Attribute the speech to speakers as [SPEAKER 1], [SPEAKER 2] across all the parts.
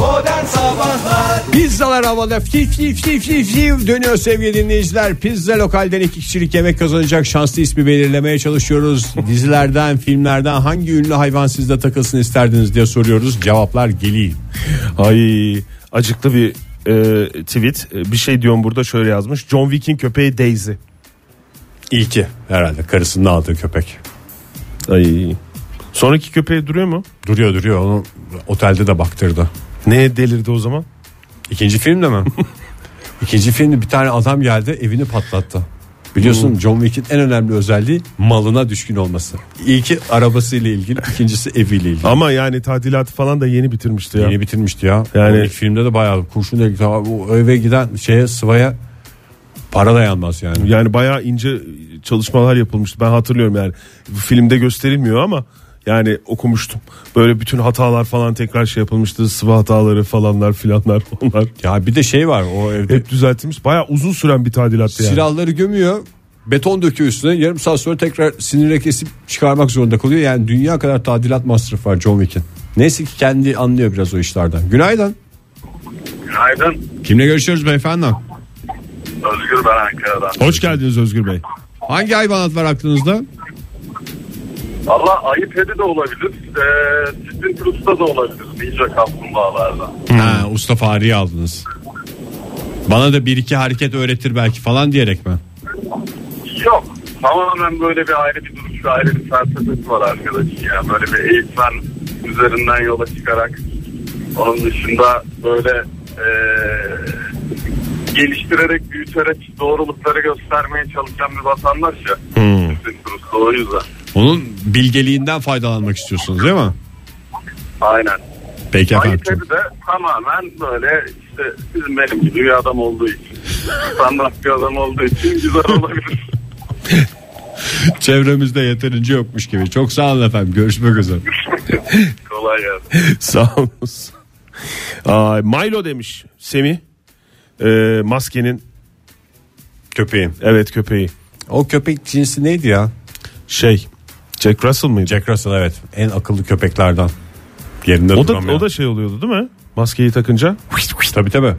[SPEAKER 1] Modern Sabahlar
[SPEAKER 2] Pizzalar havada fif fif fif fif fif dönüyor sevgili dinleyiciler. Pizza lokalden iki kişilik yemek kazanacak şanslı ismi belirlemeye çalışıyoruz. Dizilerden, filmlerden hangi ünlü hayvan sizde takılsın isterdiniz diye soruyoruz. Cevaplar geliyor.
[SPEAKER 3] Ay acıklı bir e, tweet. E, Bir şey diyorum burada şöyle yazmış. John Wick'in köpeği Daisy.
[SPEAKER 2] İyi ki herhalde karısının aldığı köpek.
[SPEAKER 3] Ay. Sonraki köpeği duruyor mu?
[SPEAKER 2] Duruyor duruyor onu otelde de baktırdı.
[SPEAKER 3] Neye delirdi o zaman?
[SPEAKER 2] İkinci filmde mi? İkinci filmde bir tane adam geldi evini patlattı. Biliyorsun John Wick'in en önemli özelliği malına düşkün olması. İyi ki arabasıyla ilgili, ikincisi eviyle ilgili.
[SPEAKER 3] Ama yani tadilatı falan da yeni bitirmişti ya.
[SPEAKER 2] Yeni bitirmişti ya.
[SPEAKER 3] Yani-
[SPEAKER 2] Yani ilk filmde de bayağı kurşun delik. O eve giden şeye sıvaya para dayanmaz yani.
[SPEAKER 3] Yani bayağı ince çalışmalar yapılmıştı. Ben hatırlıyorum yani. Filmde gösterilmiyor ama yani okumuştum. Böyle bütün hatalar falan tekrar şey yapılmıştı. Sıvı hataları falanlar filanlar onlar.
[SPEAKER 2] Ya bir de şey var o evde
[SPEAKER 3] Hep düzeltilmiş. Bayağı uzun süren bir tadilattı yani.
[SPEAKER 2] silahları gömüyor. Beton döküyor üstüne yarım saat sonra tekrar sinire kesip çıkarmak zorunda kalıyor. Yani dünya kadar tadilat masrafı var John Wick'in. Neyse ki kendi anlıyor biraz o işlerden. Günaydın.
[SPEAKER 4] Günaydın.
[SPEAKER 2] Kimle görüşüyoruz beyefendi?
[SPEAKER 4] Özgür ben Ankara'dan.
[SPEAKER 3] Hoş geldiniz Özgür Bey.
[SPEAKER 2] Hangi hayvanat var aklınızda?
[SPEAKER 4] Valla ayı pedi de olabilir. Ee, sizin krusta da olabilir. Ninja kaplumbağalardan.
[SPEAKER 2] Ha, usta fareyi aldınız. Bana da bir iki hareket öğretir belki falan diyerek mi?
[SPEAKER 4] Yok. Tamamen böyle bir ayrı bir duruş ve ayrı bir felsefesi var arkadaşın ya. Böyle bir eğitmen üzerinden yola çıkarak onun dışında böyle ee, geliştirerek, büyüterek doğrulukları göstermeye çalışan bir vatandaş ya. Sizin krusta o yüzden.
[SPEAKER 2] Onun bilgeliğinden faydalanmak istiyorsunuz değil mi?
[SPEAKER 4] Aynen.
[SPEAKER 2] Peki efendim.
[SPEAKER 4] Ayıp evi de tamamen böyle işte bizim benim gibi bir adam olduğu için. Standart bir adam olduğu için güzel olabilir.
[SPEAKER 2] Çevremizde yeterince yokmuş gibi. Çok sağ olun efendim. Görüşmek üzere.
[SPEAKER 4] Kolay gelsin.
[SPEAKER 3] Sağ olunuz. Ay, Milo demiş Semi. maskenin
[SPEAKER 2] Köpeğim.
[SPEAKER 3] evet köpeği.
[SPEAKER 2] O köpek cinsi neydi ya?
[SPEAKER 3] Şey Jack Russell mıydı?
[SPEAKER 2] Jack Russell evet. En akıllı köpeklerden. Yerinde
[SPEAKER 3] o da
[SPEAKER 2] duramıyor.
[SPEAKER 3] o da şey oluyordu değil mi? Maskeyi takınca.
[SPEAKER 2] Tabii tabii.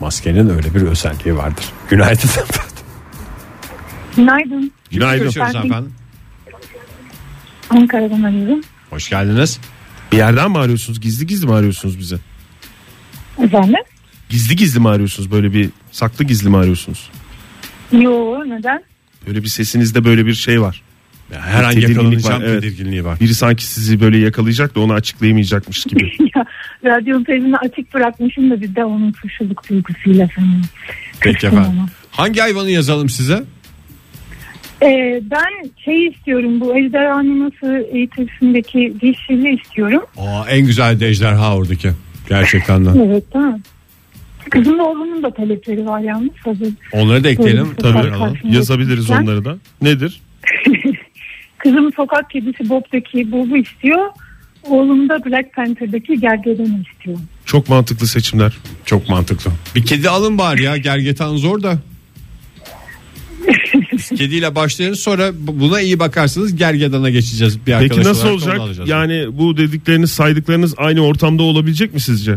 [SPEAKER 2] Maskenin öyle bir özelliği vardır. Günaydın efendim.
[SPEAKER 5] Günaydın.
[SPEAKER 3] Günaydın.
[SPEAKER 2] Görüşüyoruz
[SPEAKER 5] Ben-
[SPEAKER 2] efendim.
[SPEAKER 5] Ankara'dan arıyorum.
[SPEAKER 2] Hoş geldiniz.
[SPEAKER 3] Bir yerden mi arıyorsunuz? Gizli gizli mi arıyorsunuz bize?
[SPEAKER 5] Efendim?
[SPEAKER 3] Gizli gizli mi arıyorsunuz? Böyle bir saklı gizli mi arıyorsunuz?
[SPEAKER 5] Yo neden?
[SPEAKER 3] Böyle bir sesinizde böyle bir şey var.
[SPEAKER 2] Ya Her an
[SPEAKER 3] Tedirginlik
[SPEAKER 2] yakalanacağım
[SPEAKER 3] var, evet.
[SPEAKER 2] tedirginliği var.
[SPEAKER 3] Biri sanki sizi böyle yakalayacak da onu açıklayamayacakmış gibi.
[SPEAKER 5] ya, radyonun televizini açık bırakmışım da bir de onun suçluluk duygusuyla falan.
[SPEAKER 2] Peki
[SPEAKER 5] Kıstım
[SPEAKER 2] efendim.
[SPEAKER 5] ama.
[SPEAKER 2] Hangi hayvanı yazalım size?
[SPEAKER 5] Ee, ben şey istiyorum bu ejderhanı nasıl eğitilsindeki dişini istiyorum.
[SPEAKER 2] Aa, en güzel de ejderha oradaki. Gerçekten de.
[SPEAKER 5] Evet tamam. Kızımın oğlunun da talepleri var yalnız hazır.
[SPEAKER 2] Onları da ekleyelim.
[SPEAKER 5] Buyurun.
[SPEAKER 2] Tabii.
[SPEAKER 5] Tabii.
[SPEAKER 3] Yazabiliriz onları da. Nedir?
[SPEAKER 5] Kızım sokak kedisi Bob'daki Bob'u istiyor. Oğlum da Black Panther'daki gergedanı istiyor.
[SPEAKER 3] Çok mantıklı seçimler.
[SPEAKER 2] Çok mantıklı. Bir kedi alın bari ya. Gergetan zor da. Biz Kediyle başlayın sonra bu- buna iyi bakarsanız gergedana geçeceğiz. Bir arkadaş
[SPEAKER 3] Peki nasıl
[SPEAKER 2] olarak da onu
[SPEAKER 3] olacak?
[SPEAKER 2] alacağız.
[SPEAKER 3] Yani bu dedikleriniz saydıklarınız aynı ortamda olabilecek mi sizce?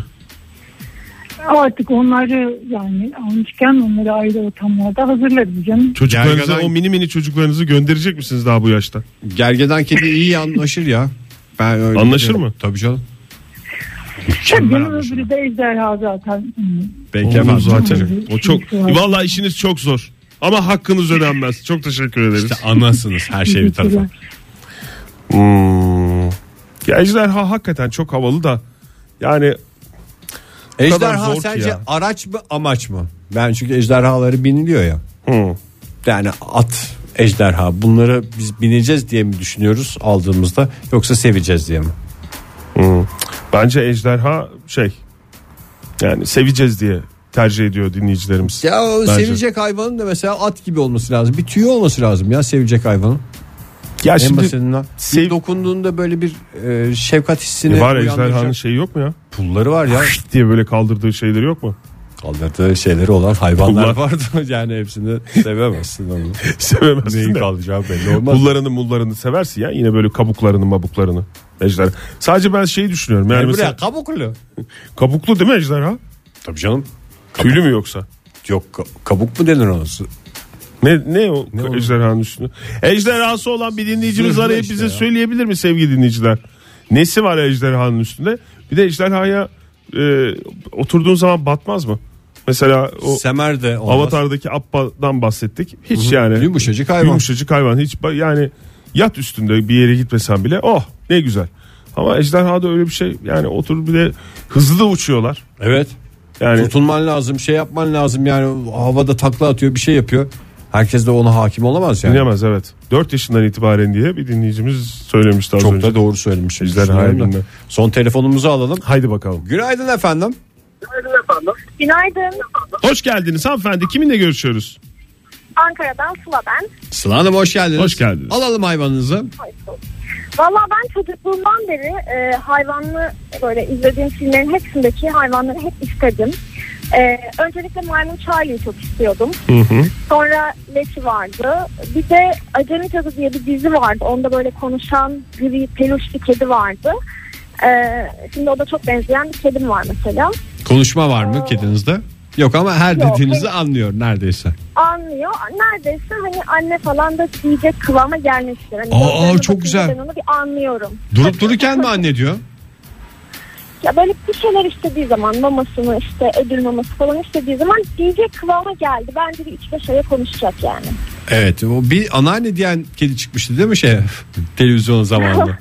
[SPEAKER 5] Artık onları yani almışken onları ayrı ortamlarda hazırlarız canım.
[SPEAKER 3] Çocuklarınıza
[SPEAKER 2] Gergedan-
[SPEAKER 3] o mini mini çocuklarınızı gönderecek misiniz daha bu yaşta?
[SPEAKER 2] Gergedan kedi iyi anlaşır ya. Ben öyle
[SPEAKER 3] Anlaşır
[SPEAKER 2] biliyorum.
[SPEAKER 3] mı?
[SPEAKER 2] Tabii canım.
[SPEAKER 5] Tabii benim
[SPEAKER 2] anlaşılan.
[SPEAKER 5] öbürü de ejderha zaten. Hmm.
[SPEAKER 2] Peki
[SPEAKER 3] Oğlum
[SPEAKER 2] efendim.
[SPEAKER 3] zaten. O çok.
[SPEAKER 5] Teşekkür ederim.
[SPEAKER 3] Vallahi işiniz çok zor. Ama hakkınız ödenmez. Çok teşekkür ederiz.
[SPEAKER 2] İşte anasınız her şey bir tarafa.
[SPEAKER 3] Hmm. Ya ejderha hakikaten çok havalı da yani
[SPEAKER 2] Ejderha
[SPEAKER 3] zor ki
[SPEAKER 2] sence
[SPEAKER 3] ya.
[SPEAKER 2] araç mı amaç mı? Ben çünkü ejderhaları biniliyor ya.
[SPEAKER 3] hmm.
[SPEAKER 2] Yani at, ejderha bunları biz bineceğiz diye mi düşünüyoruz aldığımızda yoksa seveceğiz diye mi?
[SPEAKER 3] hmm. bence ejderha şey yani seveceğiz diye tercih ediyor dinleyicilerimiz.
[SPEAKER 2] Ya o
[SPEAKER 3] Bence.
[SPEAKER 2] sevecek hayvanın da mesela at gibi olması lazım. Bir tüyü olması lazım ya sevecek hayvanın.
[SPEAKER 3] Ya
[SPEAKER 2] en
[SPEAKER 3] E şimdi
[SPEAKER 2] basitinden.
[SPEAKER 3] sev-
[SPEAKER 2] Bir dokunduğunda böyle bir e, şefkat hissini
[SPEAKER 3] var ejderhanın
[SPEAKER 2] uyandıracak
[SPEAKER 3] şeyi yok mu ya?
[SPEAKER 2] pulları var ya.
[SPEAKER 3] Diye böyle kaldırdığı şeyleri yok mu?
[SPEAKER 2] Kaldırdığı şeyleri olan hayvanlar
[SPEAKER 3] Pullar.
[SPEAKER 2] vardı. Yani hepsini sevemezsin onu.
[SPEAKER 3] Sevemezsin
[SPEAKER 2] Neyin
[SPEAKER 3] de.
[SPEAKER 2] kaldıracağı belli olmaz.
[SPEAKER 3] Mullarını mullarını seversin ya yine böyle kabuklarını mabuklarını. Ejderha. Sadece ben şeyi düşünüyorum. Yani
[SPEAKER 2] Mesela...
[SPEAKER 3] mesela
[SPEAKER 2] kabuklu.
[SPEAKER 3] kabuklu değil mi ejderha?
[SPEAKER 2] Tabii canım.
[SPEAKER 3] Tüylü mü yoksa?
[SPEAKER 2] Yok ka- kabuk mu denir ona?
[SPEAKER 3] Ne ne o ejderhanın üstünde? Ejderhası olan bir dinleyicimiz
[SPEAKER 2] Zırhlı
[SPEAKER 3] arayıp
[SPEAKER 2] işte
[SPEAKER 3] bize
[SPEAKER 2] ya.
[SPEAKER 3] söyleyebilir mi sevgili dinleyiciler? Nesi var ejderhanın üstünde? Bir de ejderhaya e, oturduğun zaman batmaz mı? Mesela o
[SPEAKER 2] Semer de olmaz.
[SPEAKER 3] Avatar'daki Appa'dan bahsettik. Hiç yani
[SPEAKER 2] Yumuşacık hayvan.
[SPEAKER 3] Yumuşacık hayvan. Hiç ba- yani yat üstünde bir yere gitmesen bile oh ne güzel. Ama ejderhada öyle bir şey yani otur bir de hızlı da uçuyorlar.
[SPEAKER 2] Evet.
[SPEAKER 3] Yani
[SPEAKER 2] Tutunman lazım, şey yapman lazım yani havada takla atıyor, bir şey yapıyor. Herkes de ona hakim olamaz yani.
[SPEAKER 3] bilemez evet. 4 yaşından itibaren diye bir dinleyicimiz söylemişti az
[SPEAKER 2] Çok
[SPEAKER 3] önce.
[SPEAKER 2] da doğru söylemiş.
[SPEAKER 3] Bizler
[SPEAKER 2] Düşünüyorum da.
[SPEAKER 3] hayalinde.
[SPEAKER 2] Son telefonumuzu alalım.
[SPEAKER 3] Haydi bakalım.
[SPEAKER 2] Günaydın efendim.
[SPEAKER 1] Günaydın efendim.
[SPEAKER 6] Günaydın.
[SPEAKER 3] Hoş geldiniz hanımefendi. Kiminle görüşüyoruz?
[SPEAKER 6] Ankara'dan Sıla ben.
[SPEAKER 2] Sıla Hanım hoş geldiniz.
[SPEAKER 3] Hoş geldiniz.
[SPEAKER 2] Alalım hayvanınızı.
[SPEAKER 6] Valla ben çocukluğumdan beri e, hayvanlı böyle izlediğim filmlerin hepsindeki hayvanları hep istedim. E, öncelikle maymun Charlie'yi çok istiyordum. Sonra Leti vardı. Bir de Acemi Cadı diye bir dizi vardı. Onda böyle konuşan gri peluş bir kedi vardı. E, şimdi o da çok benzeyen bir kedim var mesela.
[SPEAKER 2] Konuşma var mı kedinizde? Yok ama her
[SPEAKER 6] Yok,
[SPEAKER 2] dediğinizi anlıyor neredeyse.
[SPEAKER 6] Anlıyor. Neredeyse hani anne falan da diyecek kıvama gelmiştir. Hani
[SPEAKER 2] Aa,
[SPEAKER 6] gözlerine
[SPEAKER 2] çok
[SPEAKER 6] bakınca
[SPEAKER 2] güzel.
[SPEAKER 6] Ben onu bir anlıyorum.
[SPEAKER 2] Durup dururken mi anne diyor?
[SPEAKER 6] Ya böyle bir şeyler istediği zaman mamasını işte ödül maması falan istediği zaman diyecek kıvama geldi. Bence bir üç beş aya konuşacak yani.
[SPEAKER 2] Evet o bir anneanne diyen kedi çıkmıştı değil mi şey televizyon zamanında.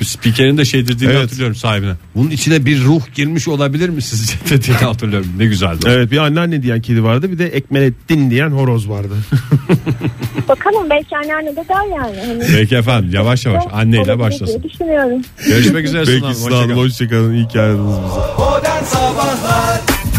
[SPEAKER 2] Bu Spikerin de şey dediğini
[SPEAKER 3] Evet.
[SPEAKER 2] hatırlıyorum sahibine. Bunun içine bir ruh girmiş olabilir mi sizce dediğini hatırlıyorum. Ne güzeldi.
[SPEAKER 3] Evet bir anneanne diyen kedi vardı bir de Ekmelettin diyen horoz vardı.
[SPEAKER 6] Bakalım belki anneanne de der yani. Hani
[SPEAKER 2] Peki efendim yavaş yavaş anneyle
[SPEAKER 6] olabilir
[SPEAKER 2] başlasın.
[SPEAKER 6] diye düşünüyorum.
[SPEAKER 2] Görüşmek üzere Sıla Hanım,
[SPEAKER 3] Peki
[SPEAKER 2] hoşça
[SPEAKER 3] Sıla
[SPEAKER 2] kalın.
[SPEAKER 3] Hanım hoşçakalın. İyi ki aradınız bizi.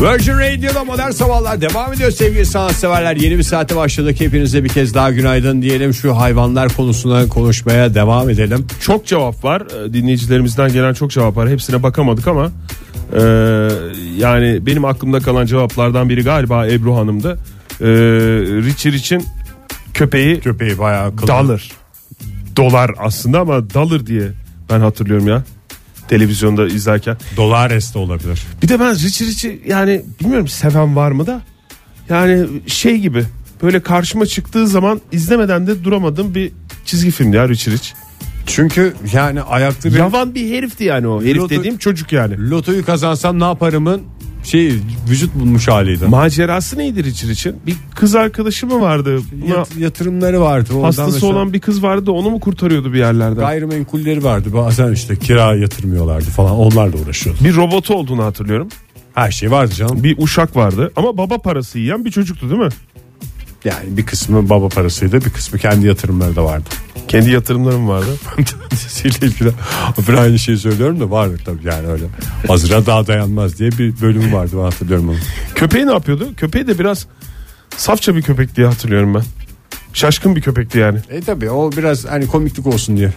[SPEAKER 2] Virgin Radio'da Modern Sabahlar devam ediyor sevgili sanatseverler. Yeni bir saate başladık. Hepinize bir kez daha günaydın diyelim. Şu hayvanlar konusuna konuşmaya devam edelim.
[SPEAKER 3] Çok cevap var. Ee, Dinleyicilerimizden gelen çok cevap var. Hepsine bakamadık ama e, yani benim aklımda kalan cevaplardan biri galiba Ebru Hanım'dı. E, Richard için köpeği
[SPEAKER 2] Köpeği bayağı kıldı.
[SPEAKER 3] dalır. Dolar aslında ama dalır diye ben hatırlıyorum ya. Televizyonda izlerken.
[SPEAKER 2] Dolares de olabilir.
[SPEAKER 3] Bir de ben Richie Richie yani bilmiyorum seven var mı da yani şey gibi böyle karşıma çıktığı zaman izlemeden de duramadığım bir çizgi filmdi ya Richie Rich.
[SPEAKER 2] Çünkü yani ayaklı bir
[SPEAKER 3] Yavan bir herifti yani o. Herif
[SPEAKER 2] Lotu-
[SPEAKER 3] dediğim çocuk yani.
[SPEAKER 2] lotoyu kazansam ne yaparımın şey vücut bulmuş haliydi.
[SPEAKER 3] Macerası neydi Richie Rich'in? Bir kız arkadaşı mı vardı? Buna
[SPEAKER 2] Yat- yatırımları vardı. Oradan
[SPEAKER 3] hastası
[SPEAKER 2] mesela
[SPEAKER 3] olan bir kız vardı da onu mu kurtarıyordu bir yerlerden?
[SPEAKER 2] gayrimenkulleri vardı. Bazen işte kira yatırmıyorlardı falan. Onlarla uğraşıyordu.
[SPEAKER 3] Bir robotu olduğunu hatırlıyorum.
[SPEAKER 2] Her şey vardı canım.
[SPEAKER 3] Bir uşak vardı ama baba parası yiyen bir çocuktu değil mi?
[SPEAKER 2] Yani bir kısmı baba parasıydı, bir kısmı kendi yatırımları da vardı.
[SPEAKER 3] Kendi yatırımlarım vardı.
[SPEAKER 2] Tanesiyle ilgili bir aynı şeyi söylüyorum da vardır tabii yani öyle. Azra daha dayanmaz diye bir bölüm vardı ben hatırlıyorum onu.
[SPEAKER 3] Köpeği ne yapıyordu? Köpeği de biraz safça bir köpek diye hatırlıyorum ben. Şaşkın bir köpekti yani.
[SPEAKER 2] E tabii o biraz hani komiklik olsun diye.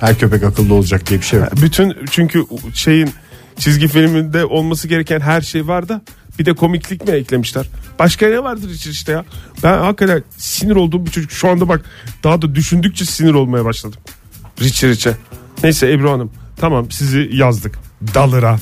[SPEAKER 2] Her köpek akıllı olacak diye bir şey yok.
[SPEAKER 3] Bütün çünkü şeyin çizgi filminde olması gereken her şey var da bir de komiklik mi eklemişler? Başka ne vardır için işte ya? Ben hakikaten sinir olduğum bir çocuk. Şu anda bak daha da düşündükçe sinir olmaya başladım. Richie Rich'e. Neyse Ebru Hanım tamam sizi yazdık. Dalıra.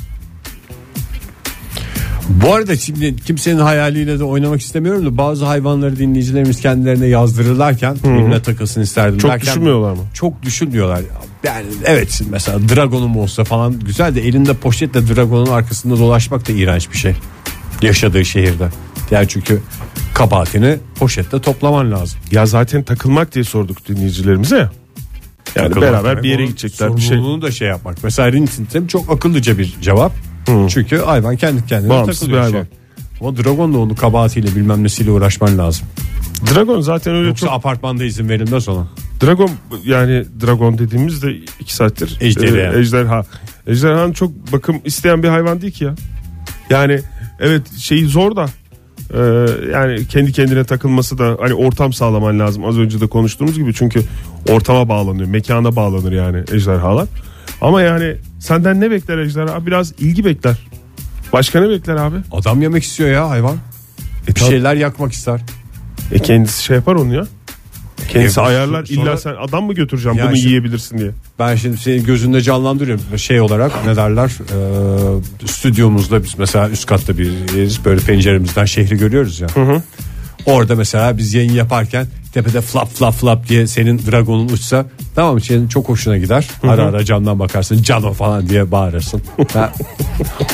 [SPEAKER 2] Bu arada şimdi kimsenin hayaliyle de oynamak istemiyorum da bazı hayvanları dinleyicilerimiz kendilerine yazdırırlarken benimle takılsın isterdim
[SPEAKER 3] Çok
[SPEAKER 2] derken-
[SPEAKER 3] düşünmüyorlar mı?
[SPEAKER 2] Çok düşünmüyorlar. Yani evet şimdi mesela dragonum olsa falan güzel de elinde poşetle dragonun arkasında dolaşmak da iğrenç bir şey. Yaşadığı şehirde. Yani çünkü kabahatini poşette toplaman lazım.
[SPEAKER 3] Ya zaten takılmak diye sorduk dinleyicilerimize ya. Yani
[SPEAKER 2] Takılmak
[SPEAKER 3] beraber
[SPEAKER 2] demek
[SPEAKER 3] bir yere
[SPEAKER 2] onun
[SPEAKER 3] gidecekler bir şey.
[SPEAKER 2] sorumluluğunu da şey yapmak. Mesela rintintim çok akıllıca bir cevap. Çünkü hayvan kendi kendine
[SPEAKER 3] Bağımsız
[SPEAKER 2] takılıyor.
[SPEAKER 3] bir
[SPEAKER 2] şey.
[SPEAKER 3] hayvan.
[SPEAKER 2] Ama dragon da onu kabahatiyle bilmem nesiyle uğraşman lazım.
[SPEAKER 3] Dragon zaten öyle
[SPEAKER 2] Yoksa
[SPEAKER 3] çok
[SPEAKER 2] apartmanda izin verilmez ona.
[SPEAKER 3] Dragon yani dragon dediğimiz de iki saattir.
[SPEAKER 2] Ejderha.
[SPEAKER 3] Ee, ejderha. Ejderhan çok bakım isteyen bir hayvan değil ki ya. Yani evet şey zor da e, yani kendi kendine takılması da hani ortam sağlaman lazım. Az önce de konuştuğumuz gibi çünkü ortama bağlanıyor, mekana bağlanır yani ejderhalar. Ama yani senden ne bekler ejderha? Biraz ilgi bekler. Başka ne bekler abi?
[SPEAKER 2] Adam yemek istiyor ya hayvan.
[SPEAKER 3] E,
[SPEAKER 2] Bir şeyler yakmak ister.
[SPEAKER 3] E kendisi şey yapar onu ya. Kendisi
[SPEAKER 2] Ee, bu-
[SPEAKER 3] ayarlar
[SPEAKER 2] sonra-
[SPEAKER 3] illa sen adam mı götüreceğim
[SPEAKER 2] Ya
[SPEAKER 3] bunu
[SPEAKER 2] işte-
[SPEAKER 3] yiyebilirsin diye.
[SPEAKER 2] Ben şimdi senin gözünde canlandırıyorum şey olarak ne derler e, stüdyomuzda biz mesela üst katta bir yeriz böyle penceremizden şehri görüyoruz ya. Orada mesela biz yayın yaparken tepede flap flap flap diye senin dragonun uçsa tamam senin çok hoşuna gider. Ara ara camdan bakarsın cano falan diye bağırırsın. Ben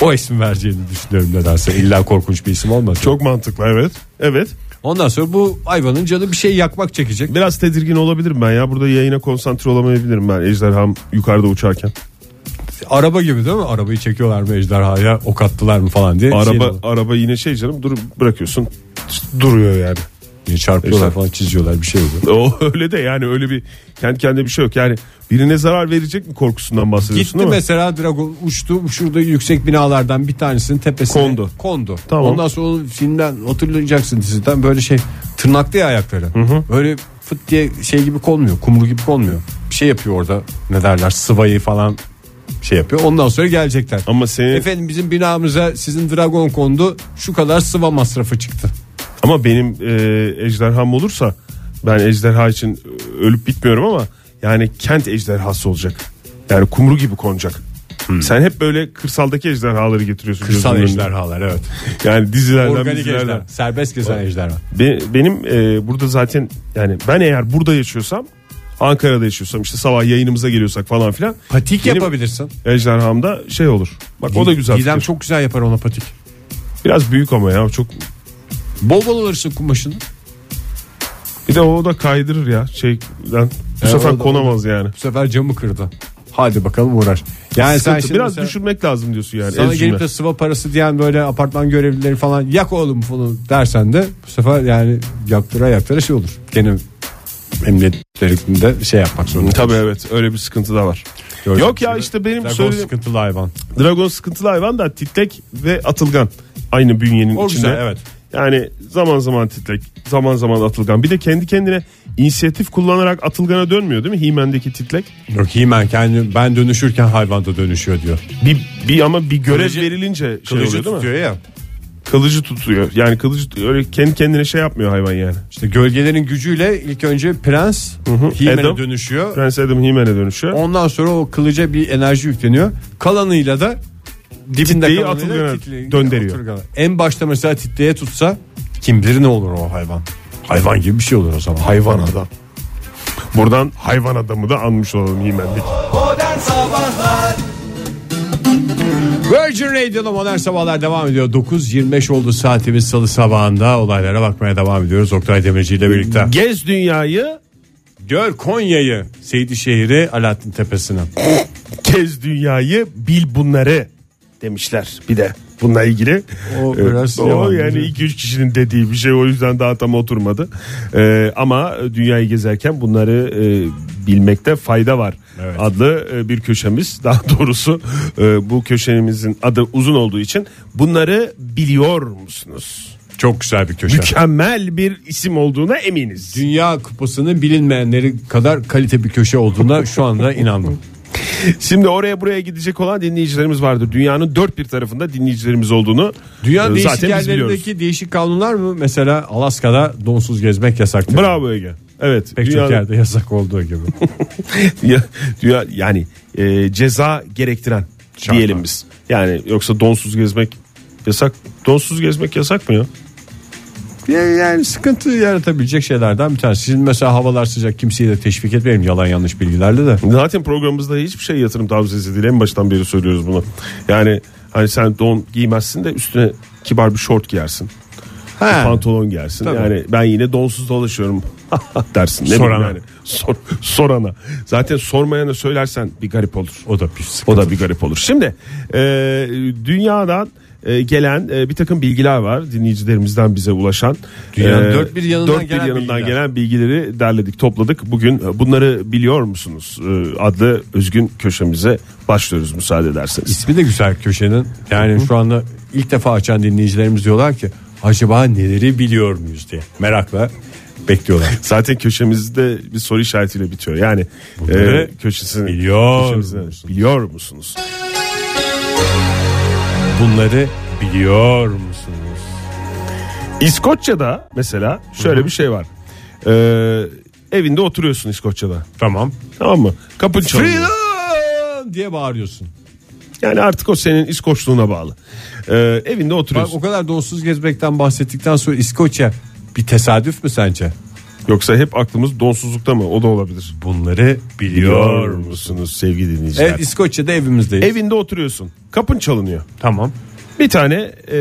[SPEAKER 2] o isim vereceğini düşünüyorum nedense illa korkunç bir isim olmaz.
[SPEAKER 3] Çok mantıklı evet. Evet.
[SPEAKER 2] Ondan sonra bu hayvanın canı bir şey yakmak çekecek.
[SPEAKER 3] Biraz tedirgin olabilirim ben ya. Burada yayına konsantre olamayabilirim ben ejderham yukarıda uçarken.
[SPEAKER 2] Araba gibi değil mi? Arabayı çekiyorlar mı ejderhaya ok attılar mı falan diye.
[SPEAKER 3] Araba
[SPEAKER 2] Şey-
[SPEAKER 3] araba yine şey canım dur bırakıyorsun duruyor yani. E,
[SPEAKER 2] Niye çarpıyorlar
[SPEAKER 3] İşte.
[SPEAKER 2] falan çiziyorlar bir şey oluyor.
[SPEAKER 3] O öyle de yani öyle bir kendi kendine bir şey yok. Yani birine zarar verecek mi korkusundan bahsediyorsun
[SPEAKER 2] Gitti
[SPEAKER 3] değil mi?
[SPEAKER 2] mesela Dragon uçtu şurada yüksek binalardan bir tanesinin tepesine
[SPEAKER 3] Kondu.
[SPEAKER 2] Kondu.
[SPEAKER 3] Tamam.
[SPEAKER 2] Ondan sonra onu filmden hatırlayacaksın diziden böyle şey tırnaklı ya ayakları. Böyle fıt diye şey gibi konmuyor kumru gibi konmuyor. Bir şey yapıyor orada ne derler sıvayı falan şey yapıyor. Ondan sonra gelecekler.
[SPEAKER 3] Ama senin
[SPEAKER 2] Efendim bizim binamıza sizin dragon kondu şu kadar sıva masrafı çıktı.
[SPEAKER 3] ama benim e, ejderham olursa ben ejderha için e, ölüp bitmiyorum ama yani kent ejderhası olacak. Yani kumru gibi konacak. Sen hep böyle kırsaldaki ejderhaları getiriyorsun.
[SPEAKER 2] Hmm. Kırsal
[SPEAKER 3] gözünün önüne.
[SPEAKER 2] ejderhalar evet.
[SPEAKER 3] Yani dizilerden
[SPEAKER 2] Organik
[SPEAKER 3] dizilerden.
[SPEAKER 2] ejderha. Serbest gezen ejderha.
[SPEAKER 3] Be- benim e, burada zaten yani ben eğer burada yaşıyorsam Ankara'da yaşıyorsam işte sabah yayınımıza geliyorsak falan filan.
[SPEAKER 2] Patik
[SPEAKER 3] benim
[SPEAKER 2] yapabilirsin.
[SPEAKER 3] Ejderhamda şey olur. Bak o da güzel.
[SPEAKER 2] Didem
[SPEAKER 3] fikir.
[SPEAKER 2] çok güzel yapar ona patik.
[SPEAKER 3] Biraz büyük ama ya çok.
[SPEAKER 2] Bol bol alırsın kumaşını.
[SPEAKER 3] Bir de o da kaydırır ya şeyden. Bu
[SPEAKER 2] Ya
[SPEAKER 3] sefer
[SPEAKER 2] o da-
[SPEAKER 3] konamaz yani.
[SPEAKER 2] Bu sefer camı kırdı. Hadi bakalım uğraş. Yani sen
[SPEAKER 3] Sıkıntı.
[SPEAKER 2] şimdi
[SPEAKER 3] Biraz
[SPEAKER 2] mesela
[SPEAKER 3] düşünmek lazım diyorsun yani.
[SPEAKER 2] sana
[SPEAKER 3] ez
[SPEAKER 2] gelip
[SPEAKER 3] cümle.
[SPEAKER 2] de sıva parası diyen böyle apartman görevlileri falan yak oğlum falan dersen de bu sefer yani yaktıra yaktıra şey olur. Gene emniyetlerinde şey yapmak zorunda.
[SPEAKER 3] Tabii evet öyle bir sıkıntı da var.
[SPEAKER 2] Gördüğünüz
[SPEAKER 3] Yok ya
[SPEAKER 2] gibi
[SPEAKER 3] işte benim
[SPEAKER 2] Dragon
[SPEAKER 3] söylediğim
[SPEAKER 2] sıkıntılı hayvan.
[SPEAKER 3] Dragon sıkıntılı hayvan da titrek ve atılgan. Aynı bünyenin
[SPEAKER 2] O
[SPEAKER 3] içinde.
[SPEAKER 2] güzel, evet.
[SPEAKER 3] Yani zaman zaman titrek, zaman zaman atılgan. Bir de kendi kendine inisiyatif kullanarak atılgana dönmüyor değil mi? Himen'deki titrek.
[SPEAKER 2] Yok He-Man kendi ben dönüşürken hayvan da dönüşüyor diyor.
[SPEAKER 3] Bir, bir ama bir görev
[SPEAKER 2] Kılıcı-
[SPEAKER 3] verilince şey
[SPEAKER 2] Kılıcı
[SPEAKER 3] oluyor değil mi?
[SPEAKER 2] tutuyor ya.
[SPEAKER 3] Kılıcı tutuyor. Yani kılıcı öyle kendi kendine şey yapmıyor hayvan yani.
[SPEAKER 2] İşte gölgelerin gücüyle ilk önce prens He-Man'e
[SPEAKER 3] Adam.
[SPEAKER 2] dönüşüyor.
[SPEAKER 3] Prens Adam Himen'e dönüşüyor.
[SPEAKER 2] Ondan sonra o kılıca bir enerji yükleniyor. Kalanıyla da dibinde
[SPEAKER 3] Titreyi
[SPEAKER 2] kalanıyla
[SPEAKER 3] atılgana
[SPEAKER 2] titreyi
[SPEAKER 3] döndürüyor.
[SPEAKER 2] atılgana. En başta mesela titreye tutsa kim bilir ne olur o hayvan. Hayvan gibi bir şey olur o zaman.
[SPEAKER 3] Hayvan adam. Buradan hayvan adamı da anmış olalım Himen'deki.
[SPEAKER 2] Virgin Radio'da modern sabahlar devam ediyor. 9.25 oldu saatimiz salı sabahında. Olaylara bakmaya devam ediyoruz. Oktay Demirci ile birlikte.
[SPEAKER 3] Gez dünyayı
[SPEAKER 2] Gör Konya'yı, Seydişehir'i, Alaaddin Tepesi'ni.
[SPEAKER 3] Kez dünyayı bil bunları demişler bir de bununla ilgili.
[SPEAKER 2] O
[SPEAKER 3] Ee,
[SPEAKER 2] biraz
[SPEAKER 3] o
[SPEAKER 2] yalan
[SPEAKER 3] yani
[SPEAKER 2] gibi.
[SPEAKER 3] 2-3 kişinin dediği bir şey o yüzden daha tam oturmadı. Ee, ama dünyayı gezerken bunları e, bilmekte fayda var
[SPEAKER 2] Evet.
[SPEAKER 3] adlı e, bir köşemiz. Daha doğrusu e, bu köşemizin adı uzun olduğu için bunları biliyor musunuz?
[SPEAKER 2] Çok güzel bir köşe.
[SPEAKER 3] Mükemmel bir isim olduğuna eminiz.
[SPEAKER 2] Dünya Kupası'nın bilinmeyenleri kadar kalite bir köşe olduğuna şu anda inandım.
[SPEAKER 3] Şimdi oraya buraya gidecek olan dinleyicilerimiz vardır. Dünyanın dört bir tarafında dinleyicilerimiz olduğunu
[SPEAKER 2] Dünya
[SPEAKER 3] e,
[SPEAKER 2] değişik
[SPEAKER 3] zaten biz biliyoruz.
[SPEAKER 2] yerlerindeki değişik kanunlar mı? Mesela Alaska'da donsuz gezmek yasak.
[SPEAKER 3] Bravo Ege. Evet.
[SPEAKER 2] Pek
[SPEAKER 3] dünyanın-
[SPEAKER 2] çok yerde yasak olduğu gibi.
[SPEAKER 3] Ya- dünya, yani e, ceza gerektiren
[SPEAKER 2] Şartlar.
[SPEAKER 3] diyelim biz. Yani yoksa donsuz gezmek yasak. Donsuz gezmek yasak mı ya?
[SPEAKER 2] yani sıkıntı yaratabilecek şeylerden bir tanesi. Sizin mesela havalar sıcak kimseyi de teşvik etmeyelim yalan yanlış bilgilerle de.
[SPEAKER 3] Zaten programımızda hiçbir şey yatırım tavsiyesi değil. En baştan beri söylüyoruz bunu. Yani hani sen don giymezsin de üstüne kibar bir şort giyersin.
[SPEAKER 2] Ha.
[SPEAKER 3] Pantolon giyersin.
[SPEAKER 2] Tabii.
[SPEAKER 3] Yani ben yine donsuz dolaşıyorum dersin. Ne
[SPEAKER 2] Sorana.
[SPEAKER 3] bileyim Yani. Sor- sorana. Zaten sormayana söylersen bir garip olur.
[SPEAKER 2] O da bir sıkıntı.
[SPEAKER 3] O da bir garip olur. Şimdi e, dünyadan e, gelen e, bir takım bilgiler var dinleyicilerimizden bize ulaşan. e,
[SPEAKER 2] Dünyanın dört bir yanından
[SPEAKER 3] dört bir
[SPEAKER 2] gelen
[SPEAKER 3] yanından
[SPEAKER 2] bilgiler.
[SPEAKER 3] gelen bilgileri derledik topladık. Bugün e, bunları biliyor musunuz e, adlı özgün köşemize başlıyoruz müsaade ederseniz.
[SPEAKER 2] İsmi de güzel köşenin. Yani şu anda ilk defa açan dinleyicilerimiz diyorlar ki acaba neleri biliyor muyuz diye merakla bekliyorlar.
[SPEAKER 3] Zaten köşemizde bir soru işaretiyle bitiyor. Yani
[SPEAKER 2] Bunları
[SPEAKER 3] e, köşesini
[SPEAKER 2] biliyor
[SPEAKER 3] köşemizi
[SPEAKER 2] musunuz?
[SPEAKER 3] biliyor musunuz?
[SPEAKER 2] Bunları biliyor musunuz?
[SPEAKER 3] İskoçya'da mesela şöyle bir şey var. Ee, Evinde oturuyorsun İskoçya'da.
[SPEAKER 2] Tamam.
[SPEAKER 3] Tamam mı? Kapın çalıyor.
[SPEAKER 2] Freedom diye bağırıyorsun.
[SPEAKER 3] Yani artık o senin İskoçluğuna bağlı. Ee, evinde
[SPEAKER 2] Bak
[SPEAKER 3] oturuyorsun.
[SPEAKER 2] o kadar donsuz gezmekten bahsettikten sonra İskoçya bir tesadüf mü sence?
[SPEAKER 3] Yoksa hep aklımız donsuzlukta mı? O da olabilir.
[SPEAKER 2] Bunları
[SPEAKER 3] Biliyor musunuz sevgili dinleyiciler?
[SPEAKER 2] Evet İskoçya'da evimizdeyiz.
[SPEAKER 3] Evinde oturuyorsun. Kapın çalınıyor.
[SPEAKER 2] Tamam.
[SPEAKER 3] Bir tane e,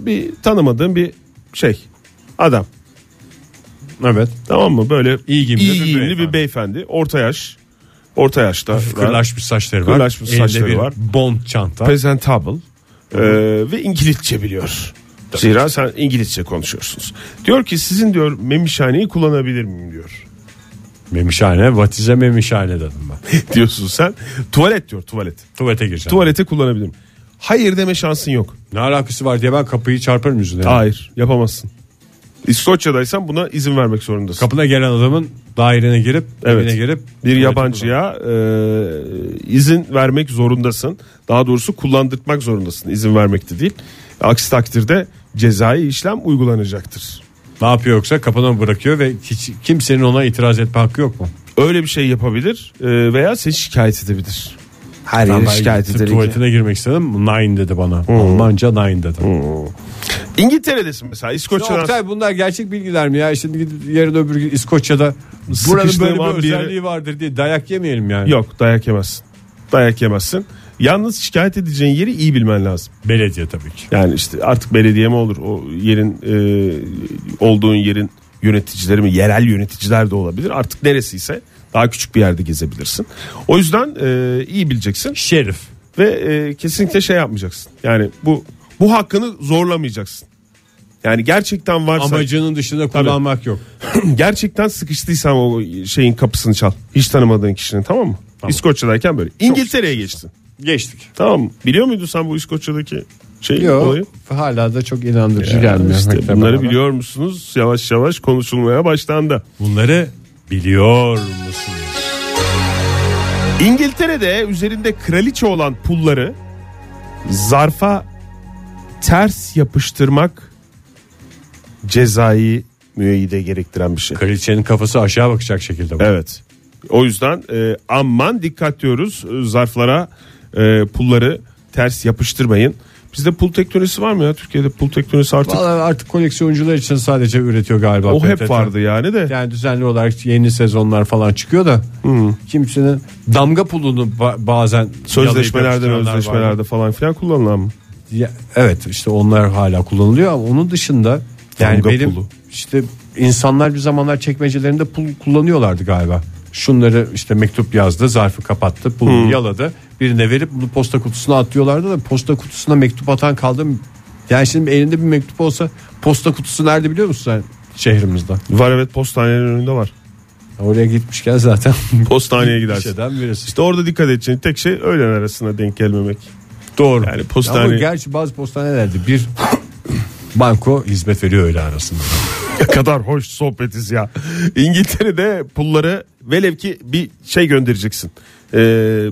[SPEAKER 3] bir tanımadığın bir şey adam.
[SPEAKER 2] Evet.
[SPEAKER 3] Tamam mı? Böyle
[SPEAKER 2] İyi giyimli bir
[SPEAKER 3] giyimli
[SPEAKER 2] beyefendi.
[SPEAKER 3] bir beyefendi. Orta yaş. Orta yaşta.
[SPEAKER 2] Kırlaşmış saçları var.
[SPEAKER 3] Kırlaşmış
[SPEAKER 2] Elinde
[SPEAKER 3] saçları
[SPEAKER 2] bir
[SPEAKER 3] var.
[SPEAKER 2] Bond çanta.
[SPEAKER 3] presentable e, ve İngilizce biliyor. Zira sen İngilizce konuşuyorsunuz. Diyor ki sizin diyor memişhaneyi kullanabilir miyim diyor.
[SPEAKER 2] memişhane. Vatize memişhane dedim ben.
[SPEAKER 3] Diyorsun sen. Tuvalet diyor tuvalet.
[SPEAKER 2] Tuvalete gireceğim.
[SPEAKER 3] Tuvalete kullanabilir miyim? Hayır deme şansın yok.
[SPEAKER 2] Ne alakası var diye ben kapıyı çarparım yüzüne.
[SPEAKER 3] Hayır yapamazsın. İskoçya'daysan buna izin vermek zorundasın.
[SPEAKER 2] Kapına gelen adamın dairene girip
[SPEAKER 3] Evet.
[SPEAKER 2] evine girip
[SPEAKER 3] bir
[SPEAKER 2] tuvalete
[SPEAKER 3] yabancıya e, izin vermek zorundasın. Daha doğrusu kullandırtmak zorundasın. İzin vermekte değil. Aksi takdirde cezai işlem uygulanacaktır.
[SPEAKER 2] kullan. Ne yapıyor yoksa kapına bırakıyor ve hiç, kimsenin ona itiraz etme hakkı yok mu?
[SPEAKER 3] Öyle bir şey yapabilir e, veya seni şikayet edebilir.
[SPEAKER 1] Her
[SPEAKER 2] Ben
[SPEAKER 1] yeri
[SPEAKER 2] ben
[SPEAKER 1] şikayet
[SPEAKER 2] gittim,
[SPEAKER 1] ederek.
[SPEAKER 2] tuvaletine girmek istedim. Nine dedi bana. Almanca nine dedi.
[SPEAKER 3] İngiltere'desin mesela
[SPEAKER 2] Ya
[SPEAKER 3] İskoçya'dan.
[SPEAKER 2] Hmm. Oktay bunlar gerçek bilgiler mi ya? Şimdi gidip yarın öbür gün İskoçya'da buranın
[SPEAKER 3] Sıkıştığım
[SPEAKER 2] böyle bir
[SPEAKER 3] an bir yere-
[SPEAKER 2] özelliği vardır diye dayak yemeyelim yani.
[SPEAKER 3] Yok dayak yemezsin. Dayak yemezsin. Yalnız şikayet edeceğin yeri iyi bilmen lazım.
[SPEAKER 2] Belediye tabii ki.
[SPEAKER 3] Yani işte artık belediye mi olur o yerin e, olduğun yerin yöneticileri mi yerel yöneticiler de olabilir. Artık neresiyse daha küçük bir yerde gezebilirsin. O yüzden e, iyi bileceksin
[SPEAKER 2] Şerif.
[SPEAKER 3] ve e, kesinlikle şey yapmayacaksın. Yani bu bu hakkını zorlamayacaksın. Yani gerçekten varsa
[SPEAKER 2] Amacının dışında kullanmak yok.
[SPEAKER 3] gerçekten sıkıştıysan o şeyin kapısını çal. Hiç tanımadığın kişinin tamam mı? İskoçya'dayken böyle. İngiltere'ye geçtin.
[SPEAKER 2] Geçtik.
[SPEAKER 3] Tamam mı? Biliyor muydun sen bu İskoçya'daki şey olayı?
[SPEAKER 2] Hala da çok inandırıcı gelmiyor.
[SPEAKER 3] İşte
[SPEAKER 2] Hakikaten
[SPEAKER 3] bunları
[SPEAKER 2] bana.
[SPEAKER 3] biliyor musunuz? Yavaş yavaş konuşulmaya başlandı.
[SPEAKER 2] Bunları biliyor musunuz?
[SPEAKER 3] İngiltere'de üzerinde kraliçe olan pulları zarfa ters yapıştırmak cezai müeyyide gerektiren bir şey.
[SPEAKER 2] Kraliçenin kafası aşağı bakacak şekilde. bu.
[SPEAKER 3] Evet. O yüzden e, aman dikkat diyoruz E, zarflara e, pulları ters yapıştırmayın. Bizde pul teknolojisi var mı ya Türkiye'de pul teknolojisi artık
[SPEAKER 2] Vallahi artık koleksiyoncular için sadece üretiyor galiba.
[SPEAKER 3] o hep
[SPEAKER 2] PTT.
[SPEAKER 3] vardı yani de.
[SPEAKER 2] Yani düzenli olarak yeni sezonlar falan çıkıyor da kimsenin damga pulunu ba- bazen
[SPEAKER 3] Sözleşmelerde,
[SPEAKER 2] yalayıp yapıştıranlar var.
[SPEAKER 3] özleşmelerde falan filan kullanılan mı?
[SPEAKER 2] Ya, evet işte onlar hala kullanılıyor ama onun dışında yani
[SPEAKER 3] Damga
[SPEAKER 2] benim
[SPEAKER 3] pulu.
[SPEAKER 2] işte insanlar bir zamanlar çekmecelerinde pul kullanıyorlardı galiba. Şunları işte mektup yazdı, zarfı kapattı, pulunu yaladı. Birine verip bunu posta kutusuna atıyorlardı da posta kutusuna mektup atan kaldı. mı? Yani şimdi elinde bir mektup olsa posta kutusu nerede biliyor musun sen? Şehrimizde.
[SPEAKER 3] Var evet postanenin önünde var.
[SPEAKER 2] Oraya gitmişken zaten
[SPEAKER 3] Postaneye
[SPEAKER 2] bir şey
[SPEAKER 3] gidersin.
[SPEAKER 2] şeyden birisi.
[SPEAKER 3] İşte orada dikkat edeceğin tek şey öğlen arasına denk gelmemek.
[SPEAKER 2] Doğru.
[SPEAKER 3] Yani postane-
[SPEAKER 2] Ama gerçi bazı postanelerde bir banko hizmet veriyor öyle arasında.
[SPEAKER 3] Ne kadar hoş sohbetiz ya. İngiltere'de pulları velev ki bir şey göndereceksin. Ee,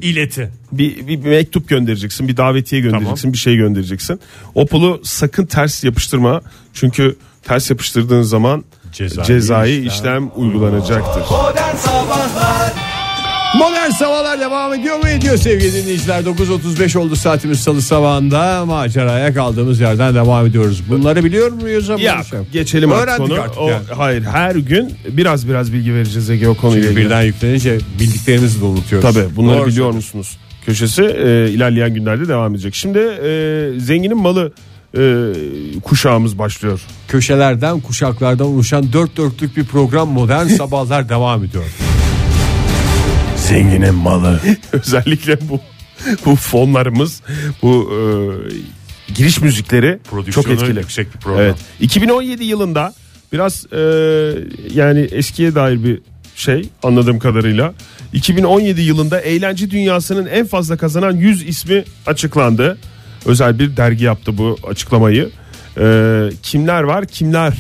[SPEAKER 2] İleti.
[SPEAKER 3] bir, bir, bir mektup göndereceksin, bir davetiye göndereceksin, bir şey göndereceksin. O pulu sakın ters yapıştırma. Çünkü ters yapıştırdığın zaman
[SPEAKER 2] Cezai
[SPEAKER 3] cezai,
[SPEAKER 2] işlem.
[SPEAKER 3] işlem, uygulanacaktır.
[SPEAKER 2] Modern Sabahlar devam ediyor mu? Ediyor sevgili dinleyiciler. 9.35 oldu saatimiz salı sabahında. Maceraya kaldığımız yerden devam ediyoruz. Bunları biliyor muyuz? Ama
[SPEAKER 3] Ya
[SPEAKER 2] şey-
[SPEAKER 3] geçelim artık
[SPEAKER 2] Öğrendik
[SPEAKER 3] onu.
[SPEAKER 2] artık
[SPEAKER 3] O-
[SPEAKER 2] yani.
[SPEAKER 3] Hayır her gün biraz biraz bilgi vereceğiz Ege o konuyla ilgili.
[SPEAKER 2] Birden yüklenince bildiklerimizi de unutuyoruz.
[SPEAKER 3] Tabii bunları
[SPEAKER 2] Doğru.
[SPEAKER 3] biliyor musunuz? Köşesi e, ilerleyen günlerde devam edecek. Şimdi e, zenginin malı e, kuşağımız başlıyor.
[SPEAKER 2] Köşelerden kuşaklardan oluşan dört dörtlük bir program Modern Sabahlar devam ediyor.
[SPEAKER 3] Zenginin malı. Özellikle bu bu fonlarımız bu e, giriş müzikleri çok
[SPEAKER 2] Prodüksiyonu
[SPEAKER 3] etkili.
[SPEAKER 2] yüksek bir program.
[SPEAKER 3] Evet. 2017 yılında biraz e, yani eskiye dair bir şey anladığım kadarıyla 2017 yılında eğlence dünyasının en fazla kazanan 100 ismi açıklandı. Özel bir dergi yaptı bu açıklamayı. E, kimler var? Kimler?